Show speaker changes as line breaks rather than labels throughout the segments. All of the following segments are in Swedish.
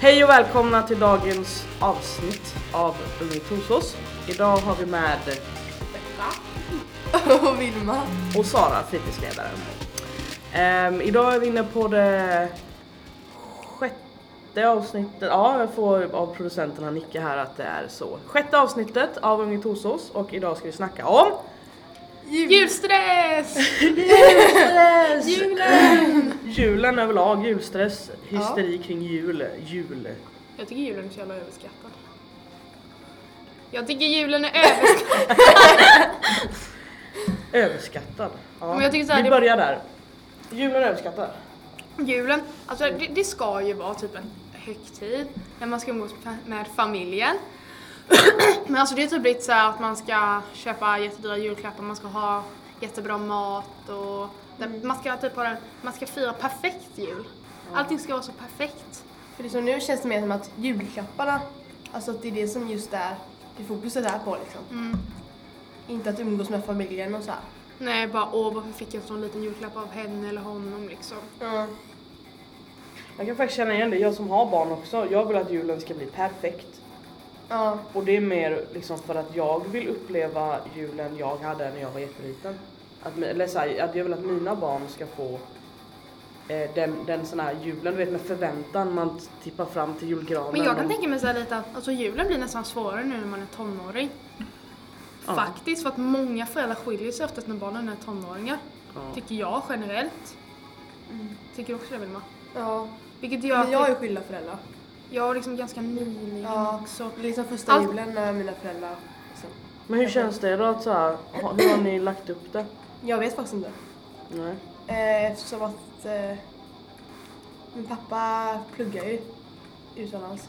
Hej och välkomna till dagens avsnitt av Ungt hos oss. Idag har vi med
Och Vilma.
och Sara, fritidsledaren. Ehm, idag är vi inne på det sjätte avsnittet, ja jag får av producenterna nicka här att det är så. Sjätte avsnittet av Ungt hos oss och idag ska vi snacka om
Julstress!
julen överlag, julstress, hysteri kring jul, jul.
Jag tycker julen är så jävla överskattad. Jag tycker julen är överskattad.
Överskattad. Ja.
Men jag tycker så här,
vi
det-
börjar där. Julen är överskattad.
julen, alltså det, det ska ju vara typ en högtid när man ska umgås fa- med familjen. Men alltså det är typ lite så här att man ska köpa jättedyra julklappar, man ska ha jättebra mat och man ska typ ha den, man ska fira perfekt jul. Allting ska vara så perfekt.
För det som nu känns det mer som att julklapparna, alltså att det är det som just är det fokuset är på liksom. Inte att umgås med familjen och så här.
Nej, bara åh varför fick jag en sån liten julklapp av henne eller honom liksom.
Jag kan faktiskt känna igen det, jag som har barn också. Jag vill att julen ska bli perfekt.
Ja.
Och det är mer liksom för att jag vill uppleva julen jag hade när jag var jätteliten. Att, mi- eller så här, att jag vill att mina barn ska få eh, den, den sån här julen, du vet med förväntan man t- tippar fram till julgranen.
Men jag kan
och-
tänka mig så här lite att alltså, julen blir nästan svårare nu när man är tonåring.
Ja.
Faktiskt, för att många föräldrar skiljer sig oftast när barnen är tonåringar.
Ja. Mm.
Tycker jag generellt. Tycker du också det Vilma?
ja.
Vilket gör
Men
att
jag har ju
jag,
skilda föräldrar.
jag är liksom ganska nyligen
Ja.
också.
Det är liksom första
Allt-
julen när mina föräldrar liksom.
Men hur känns det då? Att så här, ha- hur har ni lagt upp det?
Jag vet faktiskt inte.
Nej.
Eh, Eftersom att eh, min pappa pluggar ju utomlands.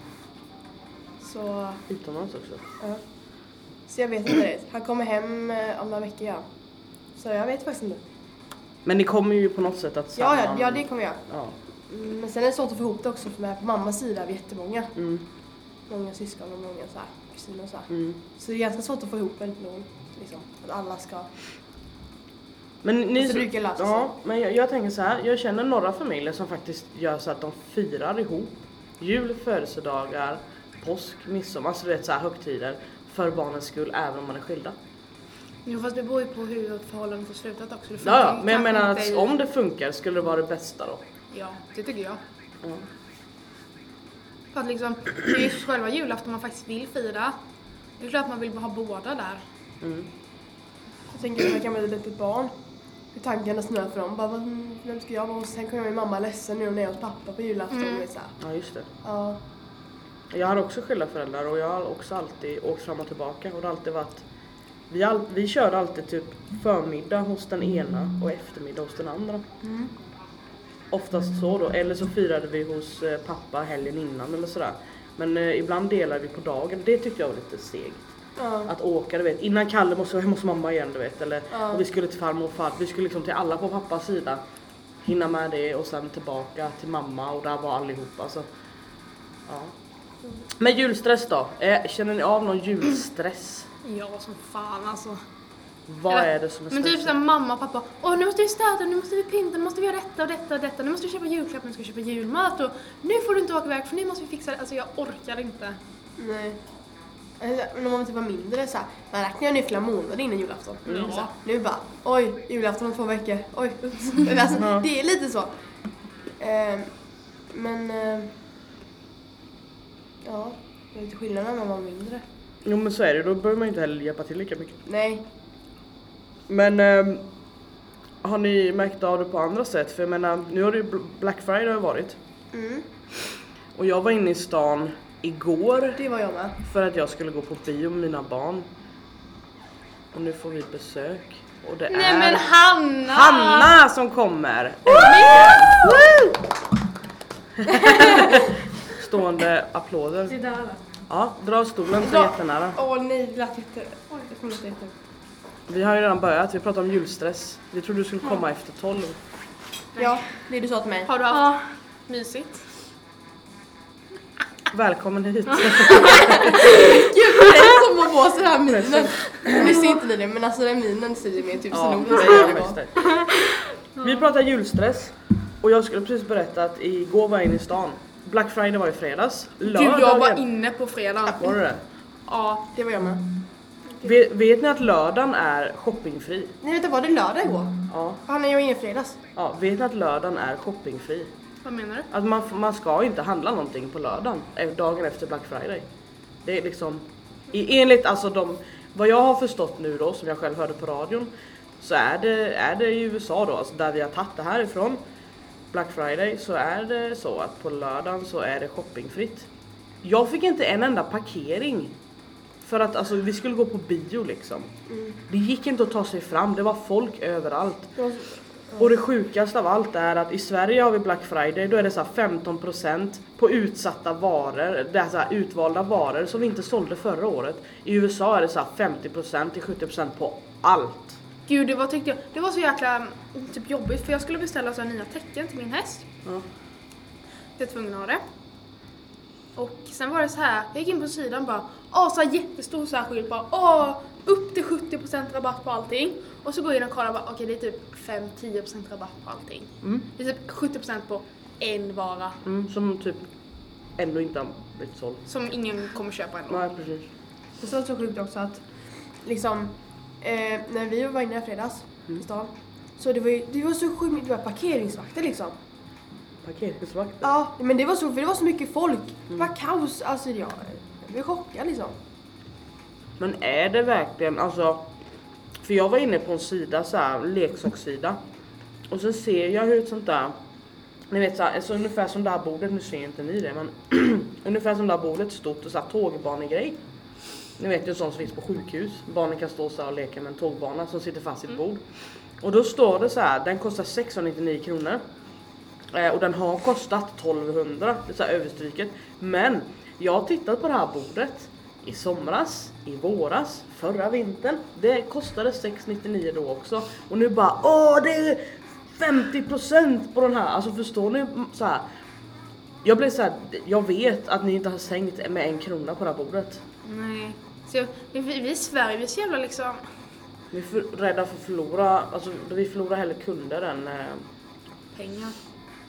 Så
Utomlands också.
Ja. Så jag vet inte riktigt. Han kommer hem eh, om några veckor ja. Så jag vet faktiskt inte.
Men ni kommer ju på något sätt att
Ja, ja, ja det kommer jag.
ja.
Mm, Men sen är det svårt att få ihop det också för med på mammas sida är vi jättemånga.
Mm,
Många syskon och många så här, kusiner och så här.
mm.
Så det är ganska svårt att få ihop en någon. Liksom, att alla ska...
Men ni,
Och så brukar det lösa
ja, men jag, jag tänker så här, jag känner några familjer som faktiskt gör så att de firar ihop jul, födelsedagar, påsk, midsommar, alltså du vet så här högtider för barnens skull även om man är skilda.
Jo fast det beror ju på hur förhållandet har slutat också. Det
Ja,
funkar
ja,
ju
men jag
kanske
menar
inte
att
i-
om det funkar skulle det vara det bästa då. Mm.
Ja, det tycker jag.
Ja.
För att liksom, det är ju själva julafton man faktiskt vill fira. Det är klart att man vill ha båda där.
Mm.
Jag tänker att jag kan bli ett litet barn. Hur tankarna snurrar för dem. Bara, vad- vem ska jag vara hos? Sen kommer min mamma ledsen nu när jag är hos pappa på julafton.
Mm.
och det är Så här.
ja, just det.
Ja.
Jag hade också skilda föräldrar och jag har också alltid åkt fram och tillbaka och det har alltid varit vi, all, vi körde alltid typ förmiddag hos den ena och eftermiddag hos den andra. Oftast så då, eller så firade vi hos eh, pappa helgen innan eller sådär. Men eh, ibland delade vi på dagen, det tyckte jag var lite segt.
Ja.
Att åka du vet, innan Kalle måste vara hemma hos mamma igen du vet. Eller,
Ja.
och vi skulle till farmor och farfar, vi skulle liksom till alla på pappas sida. Hinna med det och sen tillbaka till mamma och där var allihopa. Så. Ja. Men julstress då? Eh, Känner ni av någon julstress?
Ja, som fan alltså.
Vad
Eller-
är det som är
Men typ
stressigt?
såhär mamma och pappa, åh nu måste vi städa, nu måste vi pynta, nu måste vi göra detta och detta och detta, nu måste vi köpa julklappar, nu ska vi köpa julmat och nu får du inte åka iväg för nu måste vi fixa det. Alltså jag orkar inte.
Nej. Alltså, När man typ var mindre så här, man räknar ju nu flera månader innan julafton.
Mm.
Så här, nu bara, oj, julafton om två veckor, oj. Men alltså,
Ja.
det är lite så. Ehm, men, ehm, ja, det är lite skillnad när man var mindre.
Jo men så är det, då behöver man ju inte heller hjälpa till lika mycket.
Nej,
Men ehm, har ni märkt av det på andra sätt? För jag menar, nu har det ju Bl- Black Friday har varit.
mm,
Och jag var inne i stan igår
det var jag med.
för att jag skulle gå på bio med mina barn. Och nu får vi besök. Och det
Nej
är
men Äh. Hanna!
Hanna som kommer! Stående applåder. Ja, dra stolen så
Dra.
jättenära.
Åh nej, det lät jätte... Oj, det kommer låta jätte...
Vi har ju redan börjat, vi pratar om julstress. Vi trodde du skulle komma efter 12.
Ja, det du sa till mig.
Har du haft mysigt?
Välkommen hit.
Gud, det är som att få sådär minen. Nu ser inte ni det, men alltså den minen säger mer tusen
Ja,
ord.
det
än
är det
det var.
bästa. Vi pratar julstress och jag skulle precis berätta att igår var jag inne i stan Black Friday var i fredags.
Gud, jag var
Lördagen-
inne på fredag.
Var det det?
Ja,
Det var jag med.
Vet, vet ni att lördagen är shoppingfri?
Nej vänta, var det lördag igår?
Ja.
Fan, nej, jag var inne i fredags.
ja. Vet ni att lördagen är shoppingfri?
vad menar du?
Att man, man ska inte handla någonting på lördagen, eh, dagen efter Black Friday. Det är liksom, i- enligt alltså de, vad jag har förstått nu då, som jag själv hörde på radion, så är det, är det i USA då, alltså där vi har tagit det här ifrån, Black Friday, så är det så att på lördagen så är det shoppingfritt. Jag fick inte en enda parkering. För att alltså, vi skulle gå på bio liksom. Det gick inte att ta sig fram, det var folk överallt. Och det sjukaste av allt är att i Sverige har vi Black Friday, då är det så här 15% på utsatta varor, det är så här utvalda varor som vi inte sålde förra året. I USA är det så här 50% till 70% på allt.
Gud, det var, tyckte jag, det var så jäkla mm, typ, jobbigt för jag skulle beställa så här nya tecken till min häst.
Ja.
Jag var tvungen att ha det. Och sen var det så här, jag gick in på sidan bara, åh så här jättestor så här skylt bara, åh upp till 70% rabatt på allting. Och så går jag in och kollar bara, okej det är typ 5-10% rabatt på allting.
Mm.
Det är typ 70% på en vara
Mm, som typ ändå inte har blivit såld.
som ingen kommer köpa ändå.
Nej precis.
Och så var det så sjukt också att liksom eh, när vi var inne i fredags i stan så det var ju, det var så sjukt mycket det var parkeringsvakter liksom.
Parkeringsvakter.
Ja, men det var så, för det var så mycket folk. Det var kaos, alltså jag, jag blev chockad liksom.
Men är det verkligen, alltså. För jag var inne på en sida, så här, en leksakssida. Och så ser jag hur ett sånt där, ni vet så här, alltså ungefär som det här bordet, nu ser inte ni det men ungefär som det här bordet stort och så här tågbanegrej. Ni vet ju en sån som finns på sjukhus, barnen kan stå så här och leka med en tågbana som sitter fast i ett bord. Och då står det så här, den kostar 699 kronor. Eh, och den har kostat 1200, det är så här överstryket. Men jag har tittat på det här bordet i somras, i våras, förra vintern. Det kostade 699 då också. Och nu bara åh det är 50% på den här. Alltså förstår ni? Mm, Så här. Jag blev så här, jag vet att ni inte har sänkt med en krona på det här bordet.
Nej. Så vi, vi vi i Sverige, vi är så jävla liksom,
Vi är för rädda för att förlora, alltså vi förlorar hellre kunder än... eh,
pengar.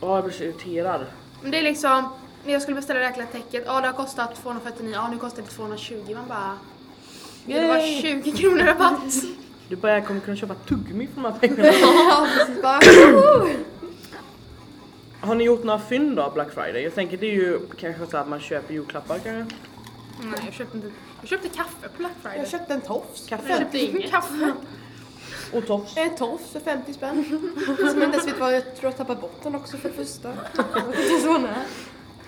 Ja, jag blir så irriterad.
Men det är liksom, när jag skulle beställa det här täcket, ja det har kostat 249, ja nu kostar det 220, man bara... Det var
Yay!
20 kronor rabatt!
Du bara, jag kommer kunna köpa tuggummi för de här pengarna.
Ja, precis. Bara,
Har ni gjort några fynd då Black Friday? Jag tänker det är ju kanske så att man köper julklappar kanske?
Nej jag köpte inte, jag köpte kaffe på Black Friday.
jag köpte en tofs.
Jag
Kaffe
köpte inget. Kaffe.
och tofs.
En tofs för 50 spänn. Som jag inte ens vet vad jag tror jag tappade bort den också för det första. Jag vet inte så när.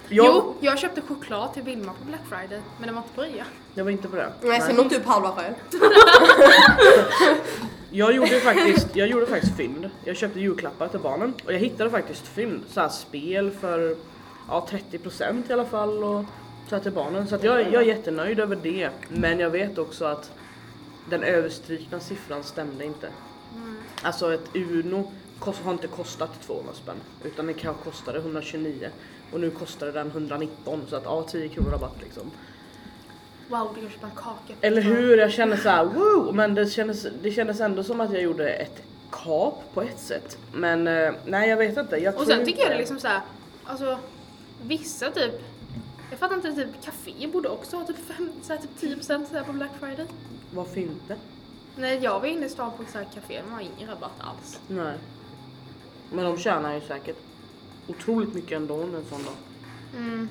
Jag,
Jo, jag köpte choklad till Vilma på Black Friday, men den var inte på rea.
jag var inte på det.
Nej, sen åt du upp halva själv.
Jag gjorde faktiskt, jag gjorde faktiskt fynd. Jag köpte julklappar till barnen och jag hittade faktiskt fynd. Så här spel för ja, 30% i alla fall och så här till barnen. Så att jag, jag är jättenöjd över det. Men jag vet också att den överstrykna siffran stämde inte. Alltså ett Uno kost, har inte kostat 200 spänn utan det kanske kostade 129 och nu kostade den 119 så att ja 10 kronor rabatt liksom.
Wow, du kan köpa en kaka. på
Eller
choklad.
hur? Jag kände så här, wow! Men det kändes, det kändes ändå som att jag gjorde ett kap på ett sätt. Men eh, nej, jag vet inte. Jag
Och
tror
sen tycker jag
inte-
det är liksom såhär, alltså vissa typ, jag fattar inte, typ kaféer borde också ha typ, fem, så här, typ 10% så här på Black Friday.
Varför inte?
När jag var inne i stan på så här café, man har ingen rabatt alls.
Nej. Men de tjänar ju säkert otroligt mycket ändå under en sån dag.
Mm.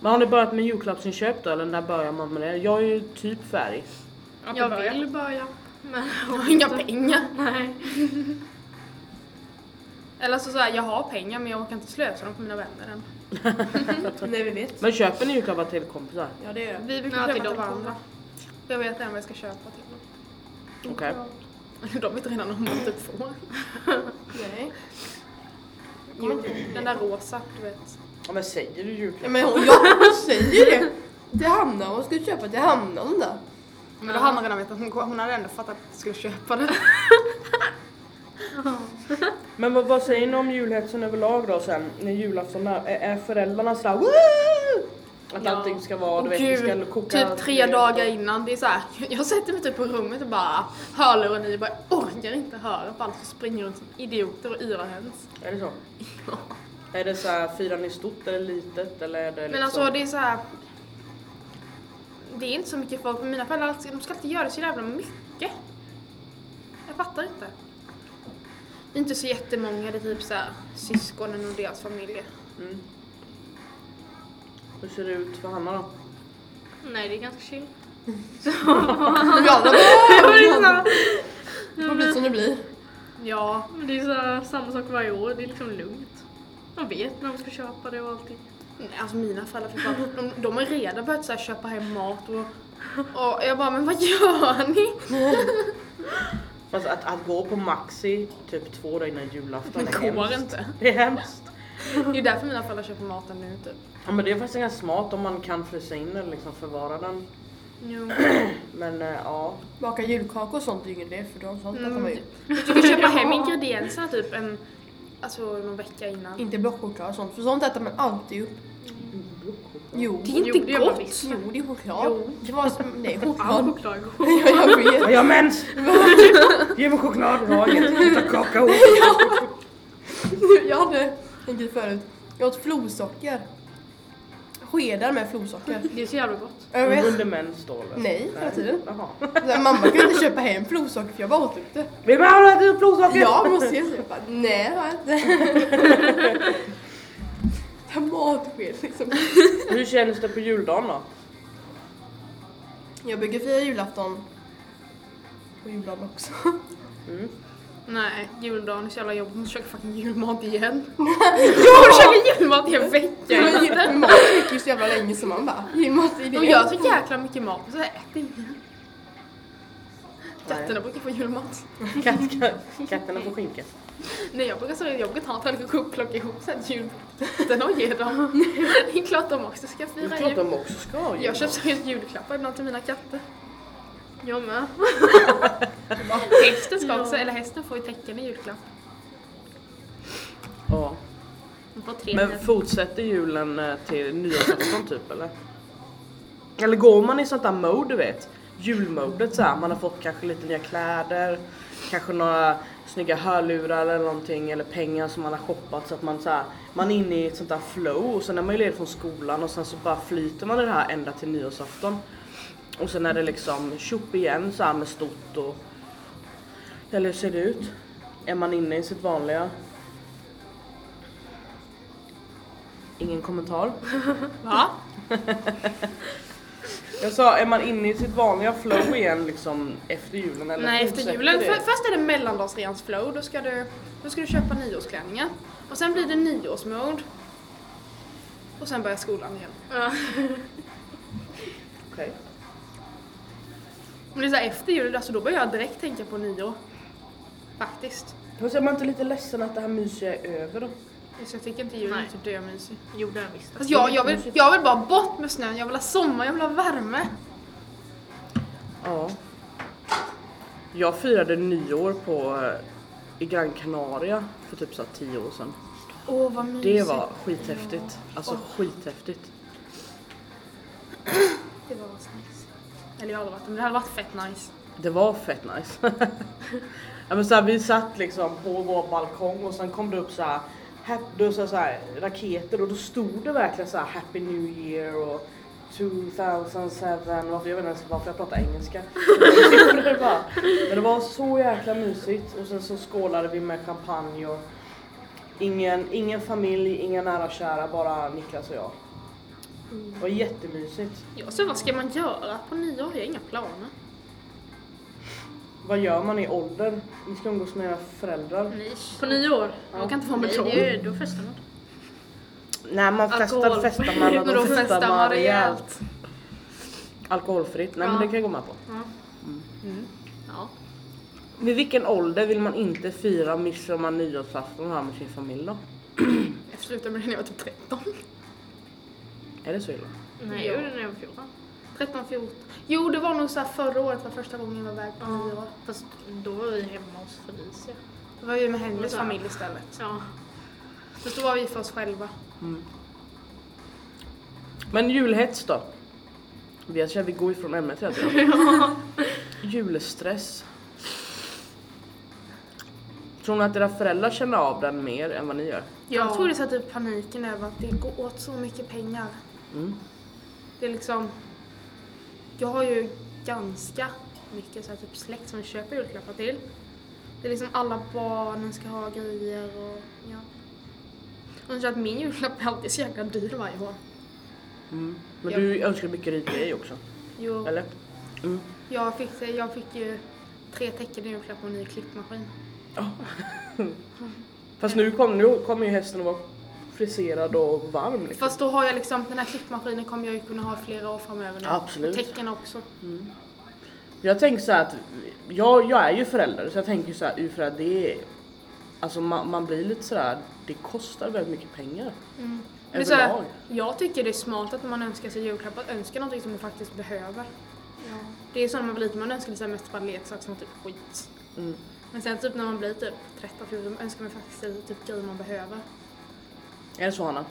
Men har ni börjat med julklappsinköp då eller när börjar man med det? Jag är ju typ färdig.
Jag vill börja, men jag har inga pengar. Nej. Eller så, så här, jag har pengar men jag orkar inte slösa dem på mina vänner än.
Nej, vi vet.
Men köper ni julklappar till kompisar?
Ja, det gör jag.
Vi brukar
Ja,
köpa
till
till
dem.
varandra. Jag vet än vad jag ska köpa till dem.
Okej.
De vet redan om vad typ får.
Nej.
Jo, den där rosa, du vet.
Ja, men säger du
Ja,
julklapp?
men hon, jag hon säger det. Till Hanna, hon skulle köpa till Hanna den där.
Men då hade hon redan vetat, hon, hon hade ändå fattat att jag skulle köpa den.
Men vad, vad säger ni om julhetsen överlag då sen när julafton är? Är är föräldrarna sådär Woo! Att
Ja.
allting ska vara, du vet, vi ska
Gud,
koka
typ tre dagar innan. Det är så här, jag sätter mig typ på rummet och bara hörlurar i och bara jag orkar inte höra på allt och springer runt som idioter och yrar höns.
Är det så? Är det så här firar ni stort eller litet eller är det liksom...
Men alltså det är så här. Det är inte så mycket folk, men mina föräldrar alltså, de ska alltid göra så jävla mycket. Jag fattar inte. Det är inte så jättemånga, det är typ så här, syskonen och deras familjer.
Mm. Hur ser det ut för Hanna då?
Nej, det är ganska chill.
Ja, det får bli som det blir.
Ja,
Men det är så här, samma sak varje år, det är liksom lugnt. Man vet när de ska köpa det och allting.
Nej, alltså mina föräldrar fick bara, de, de har redan börjat så här, köpa hem mat och, och jag bara, men vad gör ni?
Fast att, att gå på Maxi typ två dagar innan julafton
Det
är
går
hemskt.
inte.
Det är hemskt.
Det är därför mina föräldrar köper maten nu typ.
Ja, men det är faktiskt ganska smart om man kan frysa in eller liksom förvara den.
Jo.
Men eh, ja,
Baka julkakor och sånt är ju ingen idé för de sånt äter man ju.
Du kan köpa hem ingredienserna typ en, alltså någon vecka innan.
Inte blockchoklad och sånt för sånt äter man alltid upp. Jo.
Det är inte
Jo, det gör man
gott.
visst.
Jo, det är choklad.
Jo.
Det var som, nej,
All
choklad.
choklad går.
Ja, jag vet.
Ja, jag har mens! Ge mig choklad! Jag har jättemycket kakao.
Jag hade en grej förut. Jag åt florsocker. Skedar med florsocker.
Det är så jävla gott.
Jag vet.
Under mens då eller?
Nej, hela tiden.
Jaha.
Så här, Mamma kunde inte köpa hem florsocker för jag bara åt upp det.
Vill man ha lite blodsocker?
Ja, måste jag säga. Jag bara, Nej, det har jag inte. Det var matsked liksom.
Hur känns det på juldagen då?
Jag brukar fira julafton på juldagen också.
Mm.
Nej, juldagen är så jävla jobbigt. Man försöker fucking julmat igen. Jag försöker julmat i en vecka
Jag har
innan.
gillat mat mycket så jävla länge som man bara, "Ge mat i det.
De gör så jäkla mycket mat och så äter ingen. Katterna brukar få julmat.
Katt, katt, katterna får skinka.
Nej jag brukar säga att jag brukar ta en tallrik och plocka ihop såhär julkatten och ge dem. Det är klart de också ska
Det är
fira
klart
jul.
de också ska ha
Jag
julmat.
köper seriöst julklappar ibland till mina katter.
Jag med.
Hästen ska också, eller hästen får ju tecken i julklapp.
Ja.
De får tre
Men fortsätter julen eh, till nyårsafton typ eller? Eller går man i sånt där mode du vet? Julmodet såhär, man har fått kanske lite nya kläder, kanske några snygga hörlurar eller någonting eller pengar som man har shoppat så att man såhär, man är inne i ett sånt där flow och sen är man ju ledig från skolan och sen så bara flyter man i det här ända till nyårsafton. Och sen är det liksom tjopp igen såhär med stort och... Eller hur ser det ut? Är man inne i sitt vanliga? Ingen kommentar.
Va?
Jag sa, är man inne i sitt vanliga flow igen liksom efter julen eller?
Nej efter
fortsätter
julen.
det?
För, först är det mellandagsreans flow, då ska, du, då ska du köpa nyårsklänningar. Och sen blir det nyårsmode. Och sen börjar skolan igen.
Okej.
Men det är så här, efter jul, alltså då börjar jag direkt tänka på nyår. Faktiskt.
Fast är man inte lite ledsen att det här mysiga är över då?
Så jag tycker inte julen är
Nej.
typ det jag mysig.
Jo, det har jag visst.
Fast jag, jag, vill, jag vill bara bort med snön, jag vill ha sommar, jag vill ha värme.
Ja. Jag firade nyår på eh, i Gran Canaria för typ så här tio år sedan.
Åh vad mysigt.
Det var skithäftigt. Alltså skithäftigt.
Det var så nice. Eller jag har aldrig varit där, men det hade varit fett nice.
Det var fett nice. ja, men så här, vi satt liksom på vår balkong och sen kom det upp så här, hap- då, så så här raketer och då stod det verkligen så här Happy New Year och 2007, varför, jag vet inte ens varför jag pratar engelska. Men det var- Men det var så jäkla mysigt och sen så skålade vi med champagne och ingen, ingen familj, inga nära och kära, bara Niklas och jag. Det var jättemysigt.
Ja, så vad ska man göra på nyår? Jag har inga planer.
Vad gör man i ålder? Ni ska umgås med era föräldrar.
Nej.
På
På
nyår?
Ja.
Man kan inte vara med
Nej,
dem.
det är, då festar man.
Nej man festar,
Alkohol.
festar man och
Men då festar man rejält.
Alkoholfritt, nej
Ja.
men det kan jag gå med på. Mm.
Ja.
Vid vilken ålder vill man inte fira midsommar, nyårsafton här med sin familj då?
Jag slutade med det när jag var typ 13.
Är det så illa?
Nej, jag gjorde det när jag var 14.
13, 14. Jo, det var nog så här förra året var första gången jag var iväg på nyår.
Fast då var vi hemma hos Felicia.
Då var vi med hennes
Ja.
familj istället.
Ja.
Fast då var vi för oss själva.
Mm. Men julhets då? Vi, jag känner, vi går ifrån ämnet hela tiden. Julstress. Tror ni att era föräldrar känner av den mer än vad ni gör?
Jag
Ja.
tror det sätter typ paniken över att det går åt så mycket pengar.
Mm.
Det är liksom... Jag har ju ganska mycket så här typ släkt som jag köper julklappar till. Det är liksom alla barnen ska ha grejer och ja. Och så att min julklapp är alltid så jäkla dyr varje år.
Mm. Men
Ja.
du önskar mycket dig till dig också,
Jo,
eller? Mm.
jag fick, det- jag fick ju tre tecken i julklapp och en ny klippmaskin.
Fast nu kommer nu kommer ju hästen att vara friserad och varm. Liksom.
Fast då har jag liksom, den här klippmaskinen kommer jag ju kunna ha flera år framöver nu.
Absolut.
Och tecken också.
Jag tänker så här att jag, jag är ju förälder så jag tänker så här ur föräldrar, det är alltså man, man blir lite så där det kostar väldigt mycket pengar.
Mm. Men Det är så här,
Överlag.
jag tycker det är smart att när man önskar sig julklapp att önska någonting som man faktiskt behöver. Det är ju så när man blir liten, man önskar sig mest bara leksaker som typ skit.
Mm.
Men sen typ när man blir typ 13-14 önskar man faktiskt sig typ grejer man behöver.
Är det så Hanna?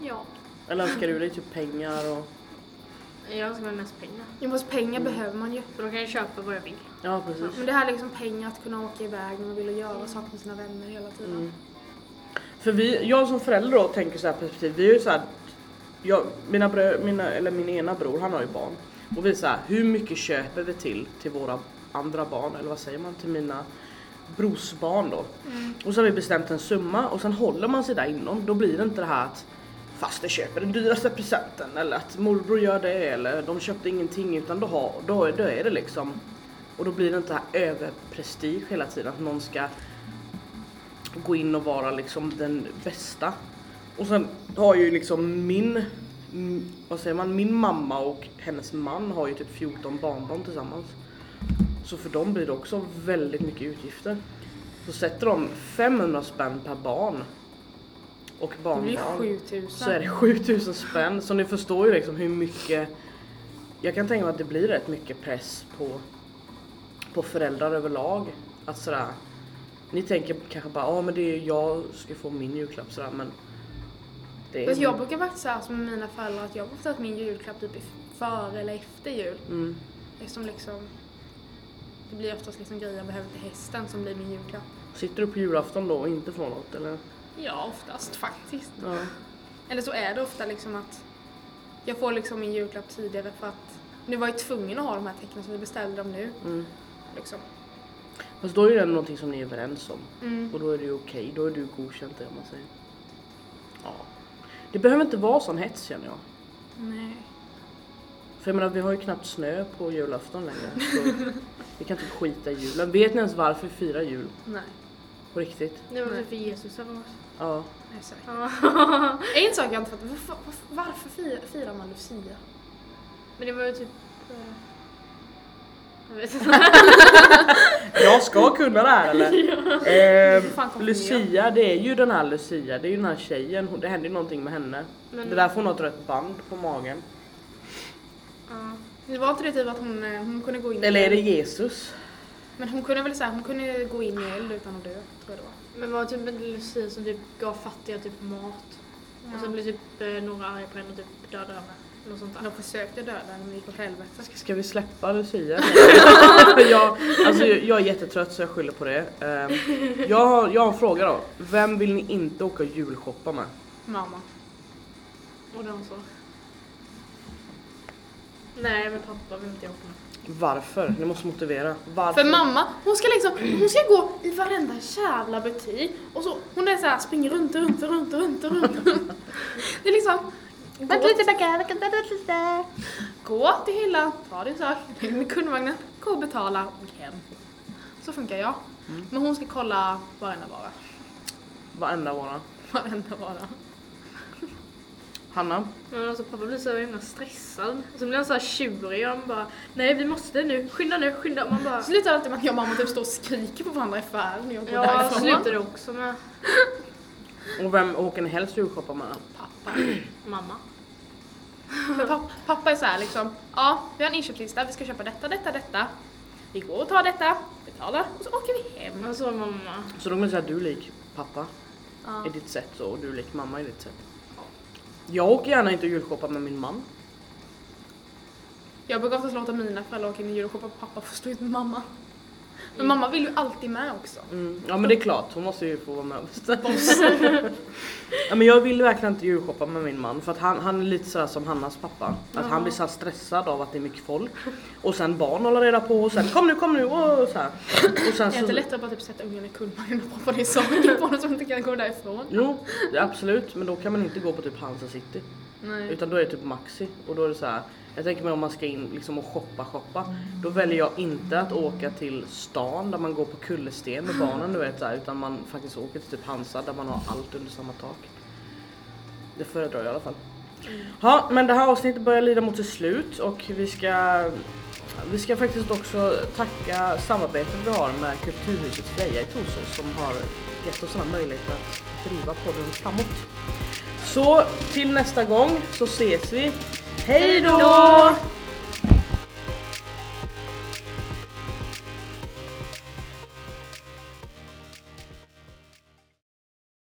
Ja.
Eller önskar du dig typ pengar och
Jag önskar mig mest pengar.
Jo fast pengar behöver man ju.
Mm. För då kan jag köpa vad jag vill.
ja precis.
Men det här är liksom pengar att kunna åka iväg när man vill och göra saker med sina vänner hela tiden.
Mm.
För vi, jag som förälder då tänker så här perspektiv, vi är ju så här, jag, mina brö, mina, eller min ena bror han har ju barn och vi är så här, hur mycket köper vi till till våra andra barn eller vad säger man till mina brorsbarn då? Och så har vi bestämt en summa och sen håller man sig där inom, då blir det inte det här att faster köper den dyraste presenten eller att morbror gör det eller de köpte ingenting utan då, har, då, är- då är det liksom och då blir det inte det här överprestige hela tiden att någon ska gå in och vara liksom den bästa. Och sen har ju liksom min, m- vad säger man, min mamma och hennes man har ju typ 14 barnbarn tillsammans. Så för dem blir det också väldigt mycket utgifter. Så sätter de 500 spänn per barn och
Det blir ju
barnbarn
7000.
så är det 7000 spänn. Så ni förstår ju liksom hur mycket, jag kan tänka mig att det blir rätt mycket press på, på föräldrar överlag. Att sådär, ni tänker kanske bara, ja men det är jag ska få min julklapp sådär men det
Fast
är...
jag brukar faktiskt säga som med mina föräldrar att jag har fått min julklapp typ i- före eller efter jul.
Mm.
Eftersom liksom det blir oftast liksom grejer jag behöver till hästen som blir min julklapp.
Sitter du på julafton då och inte får något eller?
Ja, oftast faktiskt.
Ja.
Eller så är det ofta liksom att jag får liksom min julklapp tidigare för att nu var jag tvungen att ha de här tecknen så vi beställde dem nu.
Mm.
Liksom.
Fast då är det någonting som ni är överens om
Mm.
och då är det ju okej, då är du godkänt det om man säger. Ja. Det behöver inte vara sån hets känner jag.
Nej.
För jag menar vi har ju knappt snö på julafton längre så vi kan inte skita i julen. Vet ni ens varför vi firar jul?
Nej.
På riktigt?
Det var
Nej.
väl för Jesus av oss.
Ja.
Nej, säkert.
Ja.
En sak jag inte fattar, varför, varför- varför firar, firar man Lucia?
Men det var ju typ... eh, Jag vet inte.
Jag ska kunna det här eller?
Du får fan
Ehm,
kopiera.
Lucia, det är ju den här Lucia, det är ju den här tjejen, hon- det händer ju någonting med henne.
Men-
Det där får hon har ett rött band på magen.
Ja. Det var inte det typ att hon, eh, hon kunde gå in i
Eller är det
eld?
Jesus?
Men hon kunde väl säga, hon kunde gå in i eld utan att dö, tror jag det var.
Men var typ en Lucia som typ gav fattiga typ mat. Och sen blev typ eh, några arga på henne och typ dödade henne. Något sånt där.
De försökte döda henne men det gick åt helvete.
Ska, ska vi släppa Lucia? jag, alltså, jag är jättetrött så jag skyller på det. Ehm, jag, har, jag har en fråga då. Vem vill ni inte åka julshoppa med?
Mamma.
Och de så. Nej men pappa vill inte jag åka med.
Varför? Ni måste motivera. Varför?
För mamma, hon ska liksom, hon ska gå i varenda jävla butik och så, hon är såhär, springer runt, runt, runt, runt, runt. Det är liksom, gå, gå till hyllan, ta din sak, lägg den i kundvagnen, gå och betala och gå hem. Så funkar jag. Men hon ska kolla varenda vara.
Varenda vara.
Varenda vara.
Hanna?
Men alltså pappa blir så himla stressad. Och så blir han så här tjurig och han bara Nej vi måste nu, skynda nu, skynda. Och man bara
Det slutar alltid med att jag och mamma typ står och skriker på varandra i affären när jag går
Ja
därifrån.
slutar det också med
Och vem åker ni helst julshoppa med?
Pappa.
mamma.
För pappa, pappa är så här liksom, ja vi har en inköpslista, vi ska köpa detta, detta, detta. Vi går och tar detta, betalar och så åker vi hem.
Och så mamma.
Så de kommer säga att du är lik pappa i ditt sätt så, och du är lik mamma i ditt sätt. Jag åker gärna inte och julshoppa med min man.
Jag brukar oftast låta mina föräldrar åka in och julshoppa och pappa får stå ut med mamma. Men mamma vill ju alltid med också.
Mm. Ja men det är klart, hon måste ju få vara med och bestämma. ja, men jag vill verkligen inte djurshoppa med min man för att han, han är lite sådär som Hannas pappa. Att han blir så här stressad av att det är mycket folk. Och sen barn håller reda på och sen kom nu, kom nu och så här. Och sen
Det är inte lättare att bara typ sätta ungen i kurvan och proppa ner saker på honom som inte kan gå därifrån.
Jo, det- absolut men då kan man inte gå på typ Hansa City.
Nej.
Utan då är det typ Maxi och då är det så här. Jag tänker mig om man ska in liksom och shoppa shoppa. Då väljer jag inte att åka till stan där man går på kullersten med barnen du vet så här, utan man faktiskt åker till typ Hansa där man har allt under samma tak. Det föredrar jag i alla fall. Ja men det här avsnittet börjar lida mot sitt slut och vi ska vi ska faktiskt också tacka samarbetet vi har med Kulturhuset Freja i Torsås som har gett oss den här möjligheten att driva podden framåt. Så till nästa gång så ses vi. Hej då!